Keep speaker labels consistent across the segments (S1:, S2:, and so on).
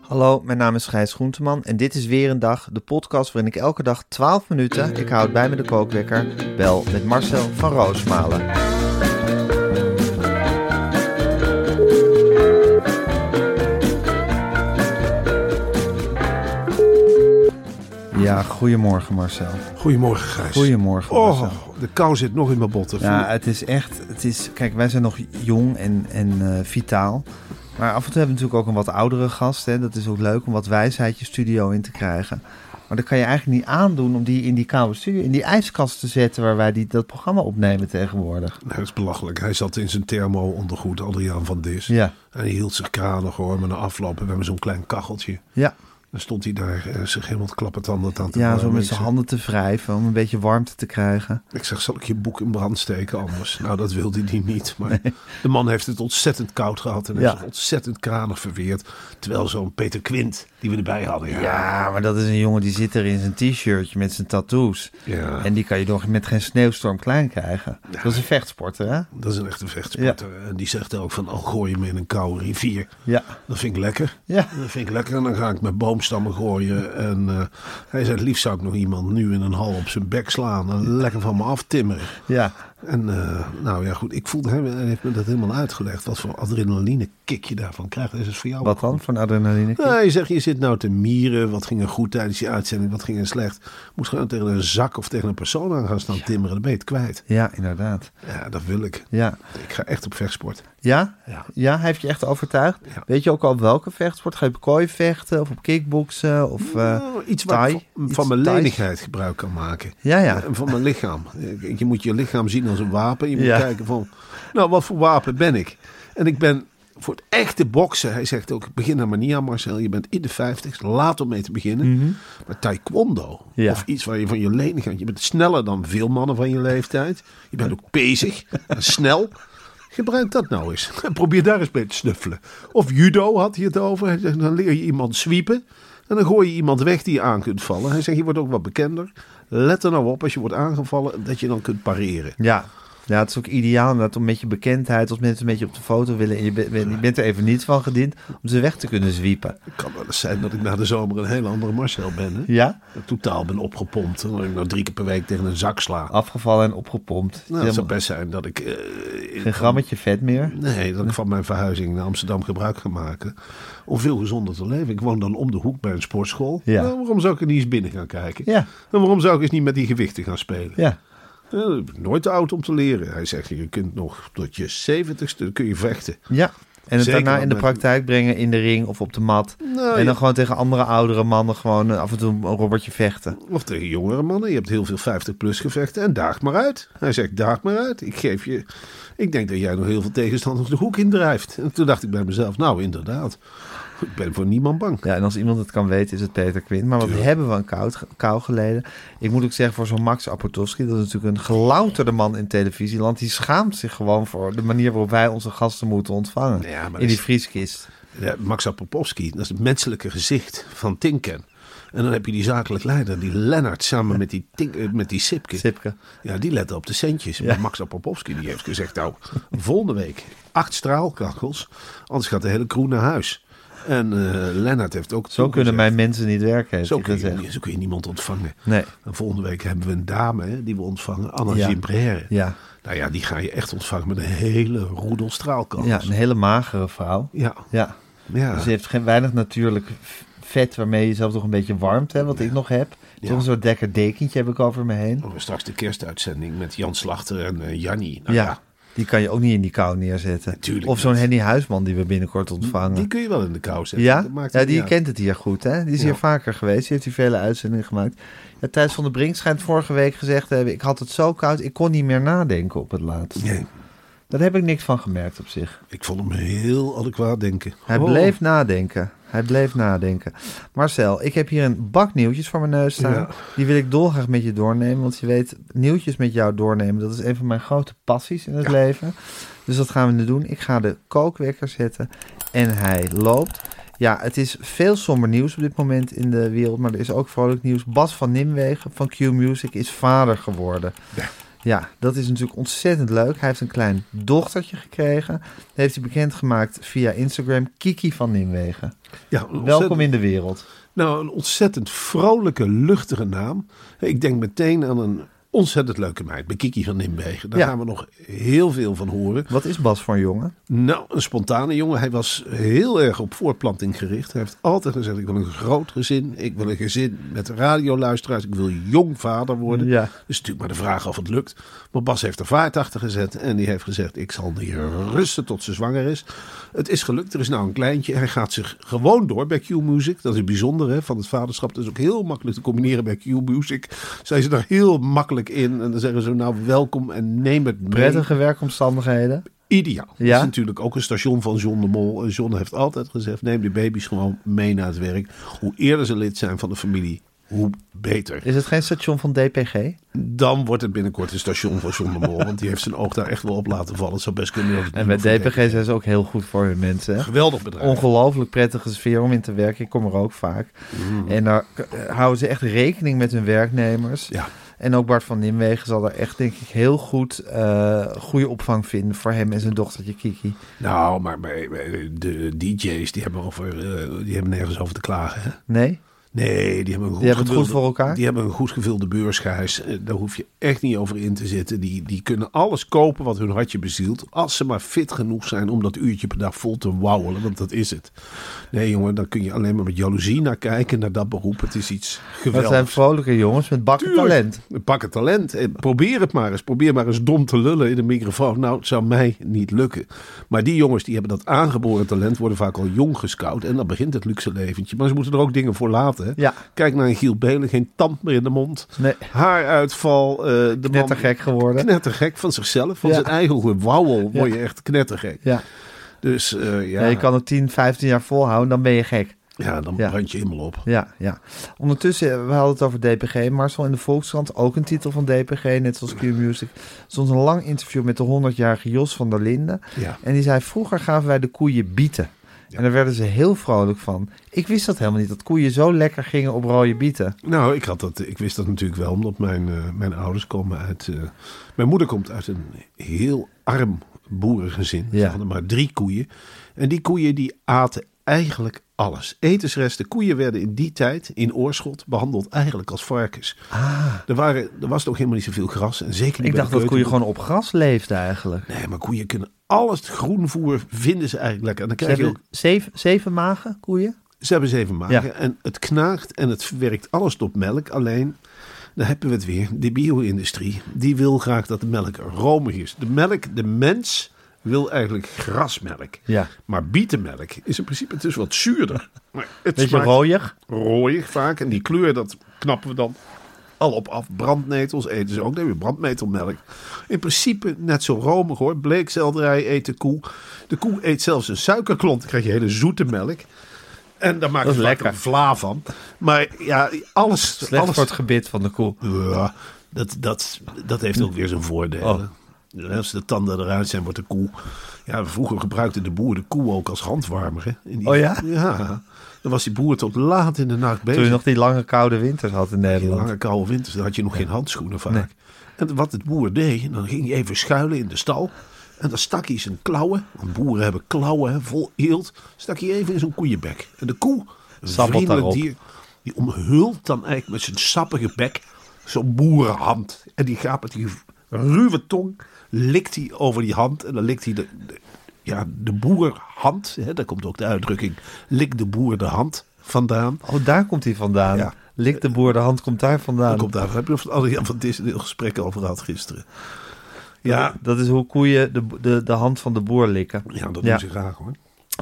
S1: Hallo, mijn naam is Gijs Groenteman en dit is weer een dag, de podcast waarin ik elke dag 12 minuten, ik houd bij me de kookwekker, bel met Marcel van Roosmalen. Ja, goedemorgen Marcel.
S2: Goedemorgen, Gijs.
S1: Goedemorgen, Marcel.
S2: Oh, de kou zit nog in mijn botten.
S1: Ja, het is echt, het is, kijk, wij zijn nog jong en, en eh, vitaal. Maar af en toe hebben we natuurlijk ook een wat oudere gast. Hè. Dat is ook leuk om wat wijsheid je studio in te krijgen. Maar dat kan je eigenlijk niet aandoen om die in die koude studio, in die ijskast te zetten waar wij die, dat programma opnemen tegenwoordig.
S2: Nee, dat is belachelijk. Hm, Hij zat in zijn thermo-ondergoed, Adriaan van Dis.
S1: Ja.
S2: En hij hield zich kranig hoor, maar na afloop hebben we zo'n klein kacheltje.
S1: Ja,
S2: Dan stond hij daar eh, zich helemaal klappertandend aan te
S1: ja zo
S2: warmen.
S1: met
S2: Ik
S1: zijn
S2: zeg-
S1: handen te wrijven om een beetje warmte te krijgen.
S2: Ik zeg, zal ik je boek in brand steken anders? nou, dat wilde hij niet. Maar de man heeft het ontzettend koud gehad en heeft
S1: Ja.
S2: zich ontzettend kranig verweerd. Terwijl zo'n Peter Quint, die we erbij hadden. Ja,
S1: Ja, maar dat is een jongen die zit er in zijn t-shirtje met zijn tattoos.
S2: Ja.
S1: En die kan je nog met geen sneeuwstorm klein krijgen. Dat is een vechtsporter, hè?
S2: dat is een echte vechtsporter. En die zegt ook van, oh, gooi hem in een koude rivier.
S1: Ja.
S2: Dat vind ik lekker.
S1: Ja.
S2: Dat vind ik lekker. En dan ga ik met boomstammen gooien. En eh, hij zei, het liefst zou ik nog iemand nu in een hal op zijn bek slaan. En lekker van me aftimmeren.
S1: Ja,
S2: En eh, nou ja, goed. Ik voelde hem, hij heeft me dat helemaal uitgelegd. Wat voor adrenaline kick je daarvan krijgt. Is het voor jou
S1: wat dan van adrenaline?
S2: Nou, je zegt, je zit nou te mieren. Wat ging er goed tijdens die uitzending? Wat ging er slecht? Moet gewoon tegen een zak of tegen een persoon aan gaan staan timmeren. Dan ben je het kwijt.
S1: Ja, inderdaad.
S2: Ja, dat wil ik.
S1: Ja.
S2: Ik ga echt op vechtsport.
S1: Ja?
S2: Ja.
S1: Ja, hij heeft je echt overtuigd.
S2: Ja.
S1: Weet je ook al op welke vechtsport? Ga je op kooi vechten of op kickboksen? Of, eh,
S2: Nou, iets waar ik
S1: Thai?
S2: van,
S1: Iets
S2: van mijn
S1: Thais?
S2: lenigheid gebruik kan maken.
S1: Ja, ja.
S2: En van mijn lichaam. Je moet je lichaam zien als een wapen. Je moet
S1: Ja.
S2: kijken van, nou, wat voor wapen ben ik? En ik ben voor het echte boksen. Hij zegt ook, begin er maar niet aan Marcel. Je bent in de 50, laat om mee te beginnen. Maar taekwondo,
S1: Ja.
S2: of iets waar je van je lenigheid... Je bent sneller dan veel mannen van je leeftijd. Je bent ook bezig en snel. Gebruik dat nou eens. En probeer daar eens mee te snuffelen. Of judo had hij het over. Hij zegt, dan leer je iemand sweepen. En dan gooi je iemand weg die je aan kunt vallen. Hij zegt, je wordt ook wat bekender. Let er nou op als je wordt aangevallen dat je dan kunt pareren.
S1: Ja. ja, het is ook ideaal inderdaad om met je bekendheid... als mensen een beetje op de foto willen... en je, bent- je bent er even niet van gediend... om ze weg te kunnen zwiepen.
S2: Het kan wel eens zijn dat ik na de zomer een hele andere Marcel ben. Hè?
S1: Ja?
S2: Dat ik totaal ben opgepompt. En dat ik nou drie keer per week tegen een zak sla.
S1: Afgevallen en opgepompt.
S2: Nou, het zou
S1: Ah, Helemaal-
S2: best zijn dat ik... eh,
S1: Geen grammetje vet meer.
S2: Nee, dat ik van mijn verhuizing naar Amsterdam gebruik ga maken. Om veel gezonder te leven. Ik woon dan om de hoek bij een sportschool.
S1: Ja.
S2: Nou, waarom zou ik er niet eens binnen gaan kijken?
S1: Ja.
S2: En waarom zou ik eens niet met die gewichten gaan spelen?
S1: Ja.
S2: Eh, ik ben nooit te oud om te leren. Hij zegt, je kunt nog tot je zeventigste kun je vechten.
S1: Ja. En het
S2: Zeker,
S1: daarna in de
S2: want-
S1: praktijk brengen in de ring of op de mat. en dan
S2: ja.
S1: gewoon tegen andere oudere mannen gewoon eh, af en toe een robbertje vechten.
S2: Of tegen jongere mannen. Je hebt heel veel 50-plus gevechten. En daag maar uit. Hij zegt, daag maar uit. Ik geef je... Ik denk dat jij nog heel veel tegenstanders de hoek indrijft. En toen dacht ik bij mezelf, nou inderdaad. Ik ben voor niemand bang.
S1: Ja, en als iemand het kan weten, is het Peter Quint. Maar wat hebben we aan kou, kou geleden? Ik moet ook zeggen, voor zo'n Max Apotowski, dat is natuurlijk een gelouterde man in televisieland. Die schaamt zich gewoon voor de manier waarop wij onze gasten moeten ontvangen.
S2: Ja, maar dat
S1: in die
S2: is-
S1: vrieskist.
S2: Ja, Max Popowski, dat is het menselijke gezicht van Tinken. En dan heb je die zakelijk leider, die Lennart, samen met die, Tink, eh, met die Sipke.
S1: Sipke.
S2: Ja, die lette op de centjes. Maar Max Popowski die heeft gezegd, nou, volgende week acht straalkachels, anders gaat de hele crew naar huis. En eh, Lennart heeft ook...
S1: Zo kunnen
S2: toegezegd.
S1: mijn mensen niet werken, heeft
S2: Zo
S1: hij
S2: kun,
S1: gezegd.
S2: je, zo kun je niemand ontvangen.
S1: Nee.
S2: En volgende week hebben we een dame hè, die we ontvangen, Anna
S1: Ja.
S2: ja.
S1: Ja.
S2: Nou ja, die ga je echt ontvangen met een hele roedel straalkachels.
S1: Ja, een hele magere vrouw.
S2: Ja.
S1: Ja.
S2: Oh, Ja.
S1: Dus ze heeft geen, weinig natuurlijk v- vet waarmee je zelf toch een beetje warmt, hè, wat ik nog heb. Toch een soort dekker dekentje heb ik over me heen.
S2: Oh, straks de kerstuitzending met Jan Slachter en eh, Jannie. Nou
S1: Ja.
S2: ja.
S1: Die kan je ook niet in die kou neerzetten.
S2: Natuurlijk
S1: of zo'n
S2: niet.
S1: Henny Huisman die we binnenkort ontvangen.
S2: Die kun je wel in de kou zetten.
S1: ja,
S2: Dat maakt
S1: ja
S2: het
S1: die
S2: niet uit.
S1: kent het hier goed. Hè? Die is
S2: Ja.
S1: hier vaker geweest. Die heeft hier vele uitzendingen gemaakt. Ja, Thijs van der Brink schijnt vorige week gezegd te hebben... ik had het zo koud, ik kon niet meer nadenken op het laatst.
S2: Nee,
S1: Daar heb ik niks van gemerkt op zich.
S2: ik vond hem heel adequaat denken.
S1: Hij
S2: Oh.
S1: bleef nadenken. Hij bleef nadenken. Marcel, ik heb hier een bak nieuwtjes voor mijn neus staan.
S2: Ja.
S1: Die wil ik dolgraag met je doornemen. Want je weet, nieuwtjes met jou doornemen, dat is een van mijn grote passies in het leven. Dus dat gaan we nu doen. Ik ga de kookwekker zetten en hij loopt. Ja, het is veel somber nieuws op dit moment in de wereld, maar er is ook vrolijk nieuws. Bas van Nimwegen van Q Music is vader geworden. Ja, dat is natuurlijk ontzettend leuk. Hij heeft een klein dochtertje gekregen. Dat heeft hij bekendgemaakt via Instagram. Kiki van Nimwegen.
S2: Ja, een ontzettend-
S1: Welkom in de wereld.
S2: Nou, een ontzettend vrolijke, luchtige naam. Ik denk meteen aan een ontzettend leuke meid, Bekiki van Nimwegen. Daar
S1: Ja.
S2: gaan we nog heel veel van horen.
S1: Wat is Bas voor een jongen?
S2: Nou, een spontane jongen. Hij was heel erg op voortplanting gericht. Hij heeft altijd gezegd, ik wil een groot gezin. Ik wil een gezin met radioluisteraars. Ik wil jong vader worden.
S1: Ja.
S2: Dat is natuurlijk maar de vraag of het lukt. Maar Bas heeft er vaart achter gezet. En die heeft gezegd, ik zal hier rusten tot ze zwanger is. Het is gelukt. Er is nou een kleintje. Hij gaat zich gewoon door bij Q-Music. Dat is bijzonder hè, van het vaderschap. Dat is ook heel makkelijk te combineren bij Q-Music. Zijn ze daar heel makkelijk in. En dan zeggen ze, nou welkom en neem het mee.
S1: Prettige werkomstandigheden.
S2: Ideaal.
S1: Ja?
S2: Dat is natuurlijk ook een station van John de Mol. En John heeft altijd gezegd: neem de baby's gewoon mee naar het werk. Hoe eerder ze lid zijn van de familie, hoe beter.
S1: Is het geen station van DPG?
S2: Dan wordt het binnenkort een station van John de Mol. Want die heeft zijn oog daar echt wel op laten vallen. Het zou best kunnen. dat het
S1: En bij
S2: niet meer
S1: DPG
S2: verkeerd is.
S1: zijn ze ook heel goed voor hun mensen. hè?
S2: Geweldig bedrijf.
S1: Ongelooflijk prettige sfeer om in te werken. Ik kom er ook vaak. En daar eh, houden ze echt rekening met hun werknemers.
S2: Ja.
S1: En ook Bart van Nimwegen zal daar echt, denk ik, heel goed eh, goede opvang vinden voor hem en zijn dochtertje Kiki.
S2: Nou, maar maar, maar de DJ's die hebben, over, eh, die hebben nergens over te klagen. Hè?
S1: Nee?
S2: Nee, die hebben een goed,
S1: hebben het goed
S2: gevulde-
S1: voor elkaar?
S2: Die hebben een goed gevulde beursgijs. Eh, Daar hoef je echt niet over in te zitten. Die, die kunnen alles kopen wat hun hartje bezielt. Als ze maar fit genoeg zijn om dat uurtje per dag vol te wauwelen. Want dat is het. Nee jongen, dan kun je alleen maar met jaloezie naar kijken. Naar dat beroep. Het is iets
S1: Dat zijn
S2: geweldigs.
S1: vrolijke jongens met bakken talent.
S2: Pak het talent. en Probeer het maar eens. Probeer maar eens dom te lullen in de microfoon. Nou, het zou mij niet lukken. Maar die jongens die hebben dat aangeboren talent, worden vaak al jong gescout. En dan begint het luxe leventje. Maar ze moeten er ook dingen voor laten. hè.
S1: Ja.
S2: Kijk naar een Giel Belen, geen tand meer in de mond.
S1: Nee.
S2: Haaruitval. eh de
S1: Knettergek
S2: man,
S1: geworden.
S2: knettergek van zichzelf. Van
S1: Ja.
S2: zijn eigen gewauwel
S1: Ja.
S2: word je echt knettergek.
S1: Ja.
S2: Dus eh, ja,
S1: Ja, je kan het 10, 15 jaar volhouden, dan ben je gek.
S2: ja, dan
S1: Ja.
S2: brand je helemaal op.
S1: Ja, ja. Ondertussen, eh, we hadden het over DPG. Marcel in de Volkskrant, ook een titel van DPG, net zoals Q-Music. Soms een lang interview met de 100-jarige Jos van der Linden.
S2: Ja.
S1: En die zei, vroeger gaven wij de koeien bieten. En daar werden ze heel vrolijk van. Ik wist dat helemaal niet, dat koeien zo lekker gingen op rode bieten.
S2: Nou, ik, had dat, ik wist dat natuurlijk wel, omdat mijn, eh, mijn ouders komen uit... eh, mijn moeder komt uit een heel arm boerengezin. Ze
S1: Ja.
S2: hadden maar drie koeien. En die koeien die aten eigenlijk alles. Etensresten. Koeien werden in die tijd in Oorschot behandeld eigenlijk als varkens. Er, waren, er was toch helemaal niet zoveel gras. En zeker niet
S1: Ah. Ik
S2: bij
S1: dacht
S2: de
S1: dat koeien
S2: keukenboer.
S1: gewoon op gras leefden eigenlijk.
S2: Nee, maar koeien kunnen alles. Het groenvoer vinden ze eigenlijk lekker. En dan
S1: Ze
S2: krijg je ook
S1: hebben zeven, zeven magen, koeien?
S2: ze hebben zeven magen
S1: Ja.
S2: en het knaagt en het verwerkt alles tot melk. Alleen, daar hebben we het weer. De bio-industrie, die wil graag dat de melk romig is. De melk, de mens wil eigenlijk grasmelk.
S1: Ja.
S2: Maar bietenmelk is in principe dus wat zuurder. Maar het
S1: Beetje
S2: smaakt
S1: rooier?
S2: rooiig vaak. En die kleur, dat knappen we dan al op af. Brandnetels eten ze ook. Nee, weer brandnetelmelk. In principe net zo romig hoor. Bleekselderij eet de koe. De koe eet zelfs een suikerklont. Dan krijg je hele zoete melk. En daar maakt
S1: Dat
S2: ze
S1: is
S2: vaak
S1: lekker.
S2: een vla van. Maar ja, alles...
S1: Slecht
S2: alles
S1: voor het gebit van de koe.
S2: ja, dat, dat, dat heeft ook weer zijn
S1: Oh.
S2: voordelen. Als de tanden eruit zijn, wordt de koe... Ja, vroeger gebruikte de boer de koe ook als handwarmer. Hè? In die-
S1: Oh ja?
S2: Ja. Dan was die boer tot laat in de nacht bezig.
S1: Toen je nog die lange koude winters had in
S2: Die
S1: Nederland.
S2: lange koude winters, dan had je nog geen handschoenen vaak. En wat het boer deed, dan ging hij even schuilen in de stal. En dan stak hij zijn klauwen, want boeren hebben klauwen hè, vol eelt. Stak hij even in zijn koeienbek. En de koe, een
S1: Sabbelt
S2: vriendelijk
S1: daarop.
S2: dier, die omhult dan eigenlijk met zijn sappige bek zo'n boerenhand. En die gaat met die ruwe tong, likt hij over die hand. En dan likt hij de, de- ja, de boerhand, hè, daar komt ook de uitdrukking, likt de boer de hand vandaan.
S1: Oh, daar komt hij vandaan.
S2: Ja.
S1: Lik de boer, de hand komt daar vandaan.
S2: Daar komt daar. Heb je of Adriaan van Dis een heel gesprek over gehad gisteren? Ja.
S1: Dat, dat is hoe koeien de, de, de hand van de boer likken.
S2: Ja, dat
S1: Ja.
S2: doen ze graag hoor.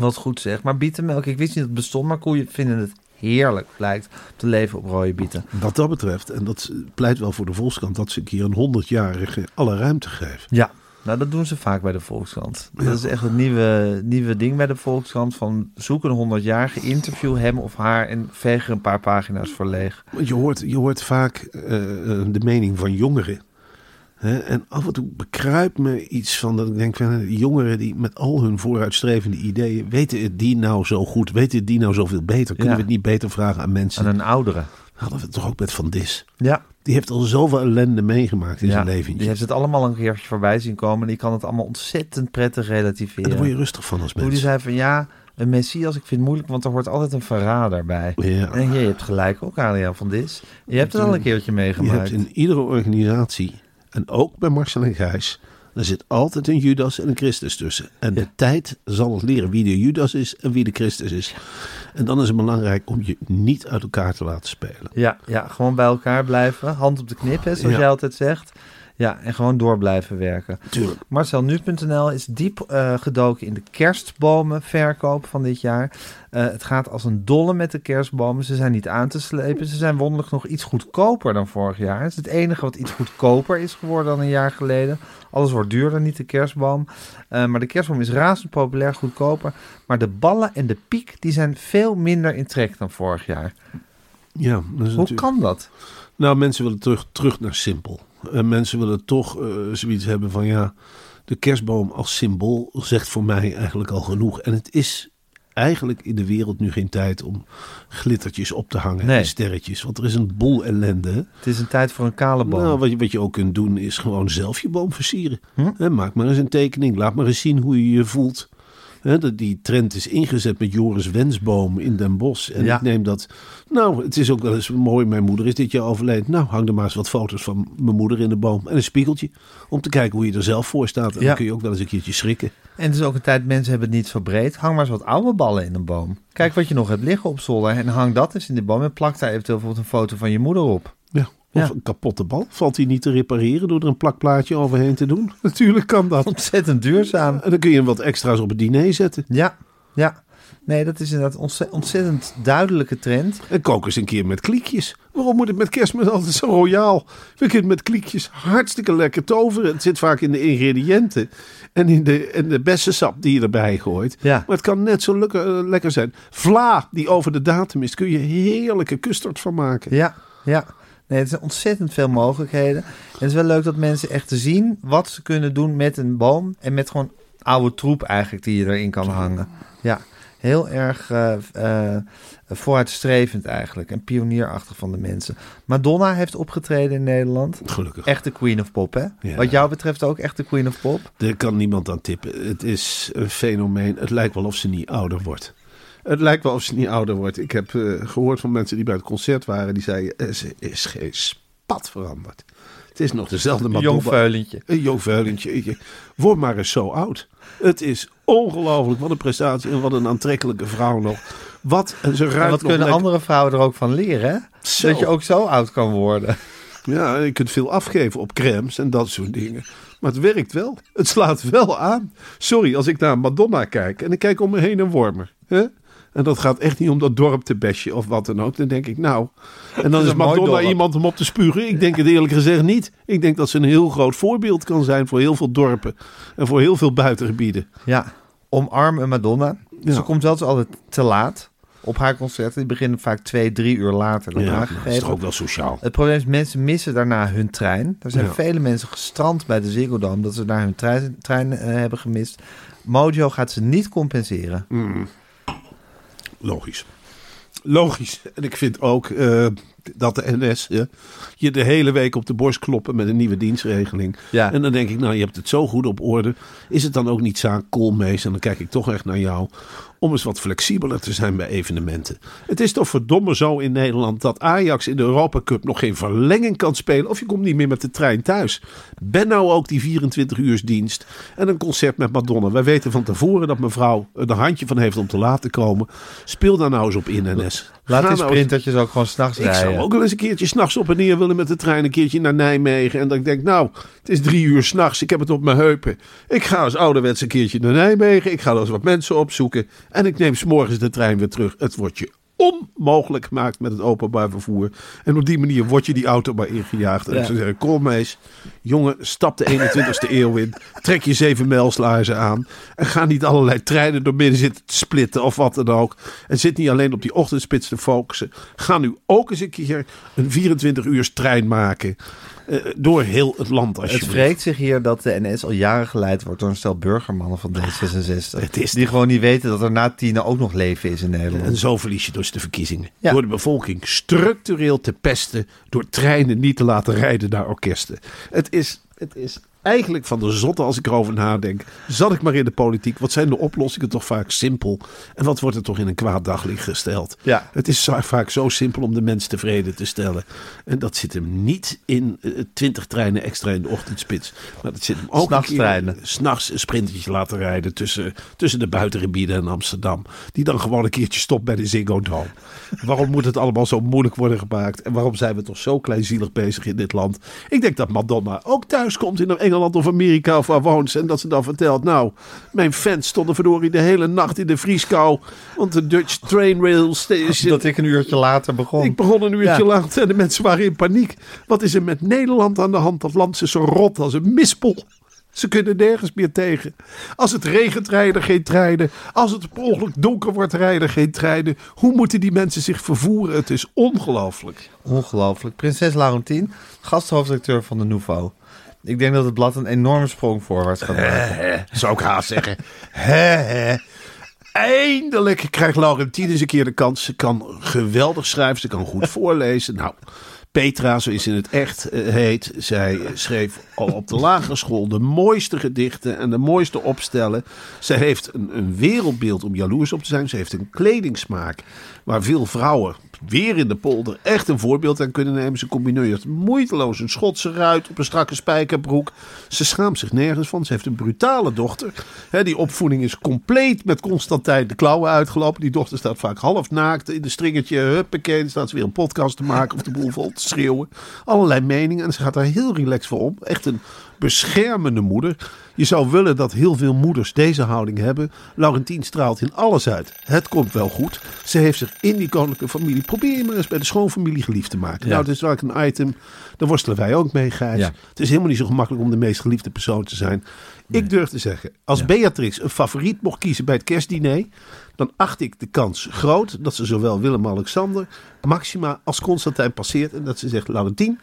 S1: Wat goed zeg. Maar bietenmelk, ik wist niet dat het bestond, maar koeien vinden het heerlijk, blijkt, om te leven op rode bieten.
S2: Wat dat betreft, en dat pleit wel voor de Volkskrant, dat ze een keer een 100-jarige alle ruimte geven.
S1: Ja. Nou, dat doen ze vaak bij de Volkskrant. Dat is echt het nieuwe, nieuwe ding bij de Volkskrant. Van zoek een 100-jarige, interview hem of haar en veeg er een paar pagina's voor leeg.
S2: Want je hoort, je hoort vaak eh, eh, de mening van jongeren. Hè? En af en toe bekruipt me iets van dat ik denk van eh, jongeren die met al hun vooruitstrevende ideeën, weten het die nou zo goed? Weten het die nou zoveel beter? Kunnen
S1: Ja.
S2: we het niet beter vragen aan mensen?
S1: Aan een oudere.
S2: Hadden we het toch ook met Van Dis?
S1: Ja.
S2: Die heeft al zoveel ellende meegemaakt in
S1: ja.
S2: zijn leventje.
S1: Die heeft het allemaal een keertje voorbij zien komen. En die kan het allemaal ontzettend prettig
S2: En daar word je
S1: relativeren.
S2: rustig van als
S1: Hoe die
S2: mens.
S1: zei van ja, een messias, ik vind het moeilijk, want er hoort altijd een verrader bij.
S2: Oh, Ja.
S1: En je hebt gelijk ook, Adriaan van Dis. Je hebt het al een keertje
S2: Je
S1: meegemaakt.
S2: hebt in iedere organisatie, en ook bij Marcel en Gijs, er zit altijd een Judas en een Christus tussen. En de tijd zal het leren wie de Judas is en wie de Christus is. En dan is het belangrijk om je niet uit elkaar te laten spelen.
S1: Ja, ja, gewoon bij elkaar blijven. Hand op de knip, hè, zoals
S2: Ja.
S1: jij altijd zegt. Ja, en gewoon door blijven werken.
S2: Tuurlijk.
S1: MarcelNu.nl is diep eh, gedoken in de kerstbomenverkoop van dit jaar. Eh, het gaat als een dolle met de kerstbomen. Ze zijn niet aan te slepen. Ze zijn wonderlijk nog iets goedkoper dan vorig jaar. Het is het enige wat iets goedkoper is geworden dan een jaar geleden. Alles wordt duurder, niet de kerstboom. Eh, maar de kerstboom is razend populair, goedkoper. Maar de ballen en de piek die zijn veel minder in trek dan vorig jaar.
S2: Ja, dat is
S1: Hoe
S2: natuurlijk-
S1: kan dat?
S2: Nou, mensen willen terug, terug naar simpel. En mensen willen toch eh, zoiets hebben van ja, de kerstboom als symbool zegt voor mij eigenlijk al genoeg. En het is eigenlijk in de wereld nu geen tijd om glittertjes op te hangen
S1: Nee.
S2: en sterretjes. Want er is een boel ellende. hè.
S1: Het is een tijd voor een kale boom.
S2: Nou, wat, je, wat je ook kunt doen is gewoon zelf je boom versieren. Hè, maak maar eens een tekening. Laat maar eens zien hoe je je voelt. Hè, dat die trend is ingezet met Joris Wensboom in Den Bosch. En
S1: Ja.
S2: ik neem dat... Nou, het is ook wel eens mooi. Mijn moeder is dit jaar overleden. Nou, hang er maar eens wat foto's van mijn moeder in de boom. En een spiegeltje. Om te kijken hoe je er zelf voor staat. En
S1: Ja.
S2: dan kun je ook wel eens een keertje schrikken.
S1: En het is ook een tijd, mensen hebben het niet verbreed. Hang maar eens wat oude ballen in een boom. Kijk wat je nog hebt liggen op zolder en hang dat eens in de boom. En plak daar eventueel bijvoorbeeld een foto van je moeder op.
S2: Ja. Of
S1: Ja.
S2: een kapotte bal. Valt die niet te repareren door er een plakplaatje overheen te doen? Natuurlijk kan dat.
S1: Ontzettend duurzaam.
S2: En dan kun je hem wat extra's op het diner zetten.
S1: Ja, ja. Nee, dat is inderdaad ontze- ontzettend duidelijke trend.
S2: En kook eens een keer met kliekjes. Waarom moet het met kerstmis altijd zo royaal? We kunnen met kliekjes hartstikke lekker toveren. Het zit vaak in de ingrediënten en in de, en de bessensap die je erbij gooit.
S1: Ja.
S2: Maar het kan net zo lekker, eh, lekker zijn. Vla, die over de datum is, kun je heerlijke custard van maken.
S1: Ja, ja. Nee, het zijn ontzettend veel mogelijkheden. En het is wel leuk dat mensen echt te zien wat ze kunnen doen met een boom. En met gewoon oude troep eigenlijk die je erin kan hangen. Ja, heel erg eh, eh, vooruitstrevend eigenlijk. En pionierachtig van de mensen. Madonna heeft opgetreden in Nederland.
S2: Gelukkig.
S1: Echt de queen of pop, hè?
S2: Ja.
S1: Wat jou betreft ook echt de queen of pop.
S2: Daar kan niemand aan tippen. Het is een fenomeen. Het lijkt wel of ze niet ouder wordt. Het lijkt wel of ze niet ouder wordt. Ik heb eh, gehoord van mensen die bij het concert waren. Die zeiden, eh, ze is geen spat veranderd. Het is nog dezelfde
S1: Een
S2: Madonna.
S1: jong veulentje.
S2: Een jong vuilentje. Je- Word maar eens zo oud. Het is ongelooflijk. Wat een prestatie en wat een aantrekkelijke vrouw nog. Wat, en ze
S1: En
S2: ruikt
S1: wat
S2: nog
S1: kunnen
S2: lekker-
S1: andere vrouwen er ook van leren, hè?
S2: Zo.
S1: Dat je ook zo oud kan worden.
S2: Ja, je kunt veel afgeven op crèmes en dat soort dingen. Maar het werkt wel. Het slaat wel aan. Sorry, als ik naar Madonna kijk en ik kijk om me heen een wormer. Hè? En dat gaat echt niet om dat dorp te besje of wat dan ook. Dan denk ik, nou. En dan
S1: is
S2: is,
S1: een mooi
S2: Madonna
S1: dorp.
S2: iemand om op te spugen. Ik denk het eerlijk gezegd niet. Ik denk dat ze een heel groot voorbeeld kan zijn voor heel veel dorpen. En voor heel veel buitengebieden.
S1: Ja, omarm een Madonna.
S2: Ja.
S1: Ze komt zelfs altijd te laat op haar concerten. Die beginnen vaak twee, drie uur later dan
S2: Ja, dat is
S1: aangegeven.
S2: toch ook wel sociaal.
S1: Het probleem is, mensen missen daarna hun trein. Er zijn
S2: Ja.
S1: vele mensen gestrand bij de Ziggo Dome... dat ze daar hun trein, trein eh, hebben gemist. Mojo gaat ze niet compenseren.
S2: Mm. Logisch. Logisch. En ik vind ook eh, dat de NS eh, je de hele week op de borst kloppen met een nieuwe dienstregeling.
S1: Ja.
S2: En dan denk ik, nou, je hebt het zo goed op orde. Is het dan ook niet zaak, Koolmees, en dan kijk ik toch echt naar jou, om eens wat flexibeler te zijn bij evenementen. Het is toch verdomme zo in Nederland dat Ajax in de Europa Cup nog geen verlenging kan spelen. Of je komt niet meer met de trein thuis. Ben nou ook die 24 uur dienst en een concert met Madonna. Wij weten van tevoren dat mevrouw er een handje van heeft om te laten komen. Speel daar nou eens op in, NS.
S1: Laat
S2: Ga
S1: die
S2: nou
S1: sprintertjes ook gewoon s'nachts
S2: Ik
S1: rijden.
S2: zou ook wel eens een keertje s'nachts op en neer willen met de trein. Een keertje naar Nijmegen. En dat ik denk, nou, het is drie uur s'nachts. Ik heb het op mijn heupen. Ik ga als ouderwets een keertje naar Nijmegen. Ik ga wel eens wat mensen opzoeken. En ik neem s'morgens de trein weer terug. Het wordt je onmogelijk gemaakt met het openbaar vervoer. En op die manier word je die auto maar ingejaagd. En
S1: Ja.
S2: ze zeggen, kom mees, jongen, stap de 21ste eeuw in. Trek je zeven mijlslaarzen aan. En ga niet allerlei treinen door midden zitten te splitten of wat dan ook. En zit niet alleen op die ochtendspits te focussen. Ga nu ook eens een keer een 24 uur trein maken. eh, door heel het land
S1: Het
S2: alsjeblieft.
S1: vreekt zich hier dat de NS al jaren geleid wordt door een stel burgermannen van D66.
S2: Het is-
S1: die gewoon niet weten dat er na tienen ook nog leven is in
S2: En
S1: Nederland.
S2: zo verlies je dus de verkiezingen.
S1: Ja.
S2: Door de bevolking structureel te pesten. Door treinen niet te laten rijden naar orkesten. Het is, het is eigenlijk van de zotte als ik erover nadenk. Zat ik maar in de politiek. Wat zijn de oplossingen toch vaak simpel? En wat wordt er toch in een kwaad daglicht gesteld?
S1: Ja.
S2: Het is zo- vaak zo simpel om de mens tevreden te stellen. En dat zit hem niet in eh, twintig treinen extra in de ochtendspits. Maar dat zit hem ook een keer-
S1: S'nachtstreinen.
S2: s'nachts een sprintertje laten rijden tussen, tussen de buitengebieden en Amsterdam. Die dan gewoon een keertje stopt bij de Ziggo Dome. Waarom moet het allemaal zo moeilijk worden gemaakt? En waarom zijn we toch zo kleinzielig bezig in dit land? Ik denk dat Madonna ook thuis komt in Engeland of Amerika of waar woont ze. En dat ze dan vertelt, nou, mijn fans stonden verdorie de hele nacht in de vrieskou. Want de Dutch Train Rail Station...
S1: Dat ik een uurtje later begon.
S2: Ik begon een uurtje
S1: Ja.
S2: later en de mensen waren in paniek. Wat is er met Nederland aan de hand? Dat land is zo rot als een mispel. Ze kunnen nergens meer tegen. Als het regent, rijden geen treinen. Als het per ongeluk donker wordt, rijden geen treinen. Hoe moeten die mensen zich vervoeren? Het is ongelooflijk.
S1: Ongelooflijk. Prinses Laurentien, gasthoofdredacteur van de Nouveau. Ik denk dat het blad een enorme sprong voorwaarts gaat maken.
S2: Zou ik haast zeggen. Hè, hè. Eindelijk krijgt Laurentien eens een keer de kans. Ze kan geweldig schrijven, ze kan goed voorlezen. Nou, Petra, zo is ze in het echt eh, heet. Zij eh, schreef al op de lagere school de mooiste gedichten en de mooiste opstellen. Ze heeft een, een wereldbeeld om jaloers op te zijn. Ze heeft een kledingsmaak waar veel vrouwen weer in de polder echt een voorbeeld aan kunnen nemen. Ze combineert moeiteloos een Schotse ruit op een strakke spijkerbroek. Ze schaamt zich nergens van. Ze heeft een brutale dochter. Hè, die opvoeding is compleet met Constantijn de klauwen uitgelopen. Die dochter staat vaak half naakt in een stringertje. Huppakee, dan staat ze weer een podcast te maken of de boel vol te schreeuwen. Allerlei meningen en ze gaat daar heel relaxed voor om. Echt een beschermende moeder. Je zou willen dat heel veel moeders deze houding hebben. Laurentien straalt in alles uit. Het komt wel goed. Ze heeft zich in die koninklijke familie... Probeer je maar eens bij de schoonfamilie geliefd te maken. Nou, dat is wel een item. Daar worstelen wij ook mee, Gijs.
S1: Ja.
S2: Het is helemaal niet zo gemakkelijk om de meest geliefde persoon te zijn. Ik durf te zeggen, als Beatrix een favoriet mocht kiezen bij het kerstdiner, dan acht ik de kans groot dat ze zowel Willem-Alexander, Maxima als Constantijn passeert. En dat ze zegt, Laurentien,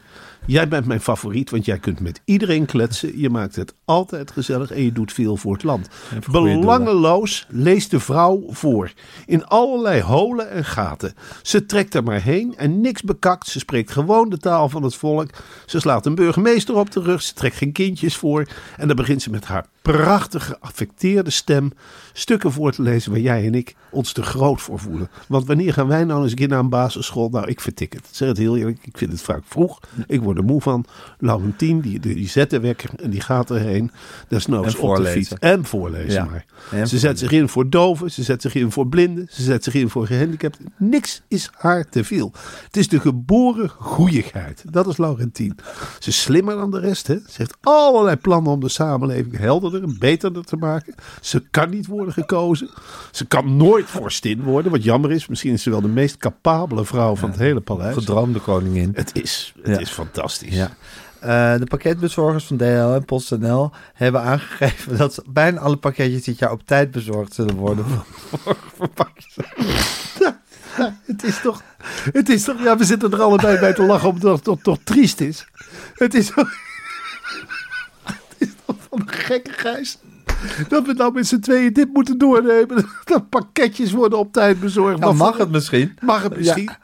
S2: jij bent mijn favoriet, want jij kunt met iedereen kletsen. Je maakt het altijd gezellig en je doet veel voor het land.
S1: voor goede doelen.
S2: Belangen Belangeloos leest de vrouw voor. In allerlei holen en gaten. Ze trekt er maar heen en niks bekakt. Ze spreekt gewoon de taal van het volk. Ze slaat een burgemeester op de rug. Ze trekt geen kindjes voor. En dan begint ze met haar prachtige, affecteerde stem stukken voor te lezen waar jij en ik ons te groot voor voelen. Want wanneer gaan wij nou eens een keer naar een basisschool? Nou, ik vertik het. Ik Zeg het heel eerlijk. Ik vind het vaak vroeg. Ik word er moe van. Laurentien, die, die zet de wekker en die gaat erheen. Desnoods
S1: En
S2: op de
S1: voorlezen.
S2: fiets. En voorlezen
S1: Ja.
S2: maar.
S1: En
S2: ze zet zich in voor doven, ze zet zich in voor blinden, ze zet zich in voor gehandicapten. Niks is haar te veel. Het is de geboren goeigheid. Dat is Laurentien. Ze is slimmer dan de rest. Hè? Ze heeft allerlei plannen om de samenleving helderder en beterder te maken. Ze kan niet worden gekozen. Ze kan nooit vorstin worden, wat jammer is. Misschien is ze wel de meest capabele vrouw van het hele paleis.
S1: Gedroomde koningin.
S2: Het is, het
S1: Ja.
S2: is fantastisch.
S1: Ja. Eh, de pakketbezorgers van DHL en PostNL hebben aangegeven dat ze bijna alle pakketjes dit jaar op tijd bezorgd zullen worden.
S2: Het is toch, het is toch, ja, we zitten er allebei bij te lachen omdat het toch, toch triest is. Het is, toch- het is toch van een gekke grijs. Dat we nou met z'n tweeën dit moeten doornemen. Dat pakketjes worden op tijd bezorgd.
S1: Nou,
S2: Maar
S1: mag het misschien.
S2: Mag het misschien?
S1: Ja.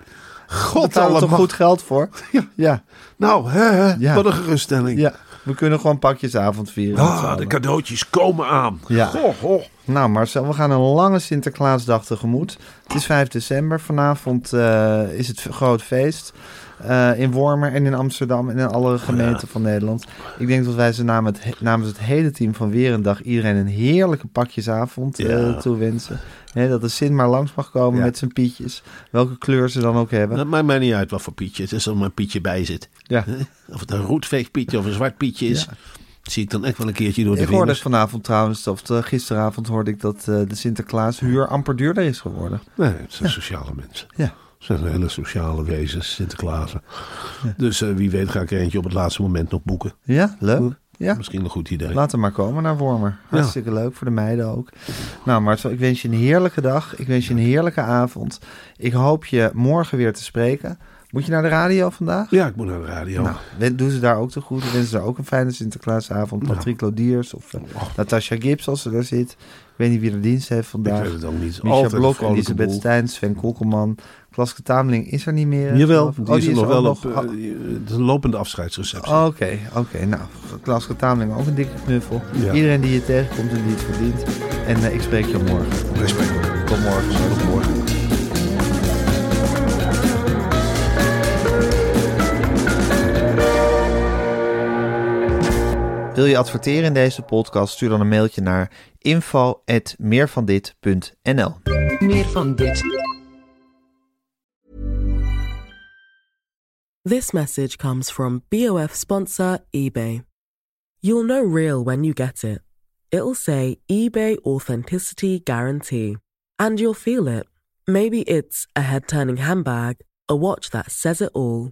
S2: God,
S1: Daar er toch
S2: allemaal.
S1: goed geld voor.
S2: Ja.
S1: Ja,
S2: Nou, hè, hè,
S1: Ja.
S2: wat een geruststelling.
S1: ja. we kunnen gewoon pakjesavond vieren. met z'n
S2: Ah,
S1: allen.
S2: de cadeautjes komen aan.
S1: Ja.
S2: Goh, goh.
S1: Nou Marcel, we gaan een lange Sinterklaasdag tegemoet. Het is 5 december. Vanavond eh, is het groot feest. eh, in Wormer en in Amsterdam en in alle gemeenten van Nederland. Ik denk dat wij ze namens het, namens het hele team van Weer een Dag iedereen een heerlijke pakjesavond eh,
S2: Ja.
S1: toewensen. Hè, dat de Sint maar langs mag komen
S2: Ja.
S1: met zijn pietjes, welke kleur ze dan ook hebben.
S2: Dat maakt mij niet uit wat voor pietje het is, als er maar een pietje bij zit.
S1: Ja.
S2: Hè? Of het een roetveegpietje of een zwart pietje is,
S1: Ja.
S2: dat zie ik dan echt wel een keertje door de
S1: Ik hoorde
S2: vingers.
S1: vanavond trouwens, of eh, gisteravond hoorde ik dat eh, de Sinterklaashuur amper duurder is geworden.
S2: Nee, het zijn sociale mensen.
S1: Ja.
S2: Het zijn hele sociale wezens, Sinterklaas. Dus eh, wie weet ga ik er eentje op het laatste moment nog boeken.
S1: Ja, leuk. Ja.
S2: Misschien een goed idee.
S1: Laat hem maar komen naar Wormer. Hartstikke leuk voor de meiden ook. Nou, Marcel, ik wens je een heerlijke dag. Ik wens je een heerlijke avond. Ik hoop je morgen weer te spreken. Moet je naar de radio vandaag?
S2: Ja, ik moet naar de radio.
S1: Nou, we- doe ze daar ook te goed. We wensen daar ook een fijne Sinterklaasavond. Patrick Lodiers of eh, Natasha Gibbs als ze daar zit. Ik weet niet wie de dienst heeft vandaag.
S2: Ik weet het ook niet.
S1: Micha
S2: Altijd een
S1: Blok,
S2: vrolijke
S1: Elisabeth
S2: boel.
S1: Stijn, Sven Kokkelman. Klaske Tameling is er niet meer. hè,
S2: Jawel,
S1: geloof ik?
S2: die
S1: Oh,
S2: is er nog
S1: ook Ah.
S2: wel op.
S1: oh,
S2: eh, Het is een lopende afscheidsreceptie.
S1: Oké, oké. Nou, Klaas Tameling ook een dikke knuffel.
S2: Ja.
S1: Iedereen die je tegenkomt en die het verdient. En eh, ik spreek je morgen.
S2: Respect.
S1: Tot morgen.
S2: Tot morgen.
S1: Wil je adverteren in deze podcast? Stuur dan een mailtje naar info.meervandit.nl
S3: Meer van dit.
S4: This message comes from BOF sponsor eBay. You'll know real when you get it. It'll say eBay Authenticity Guarantee. And you'll feel it. Maybe it's a head turning handbag, a watch that says it all,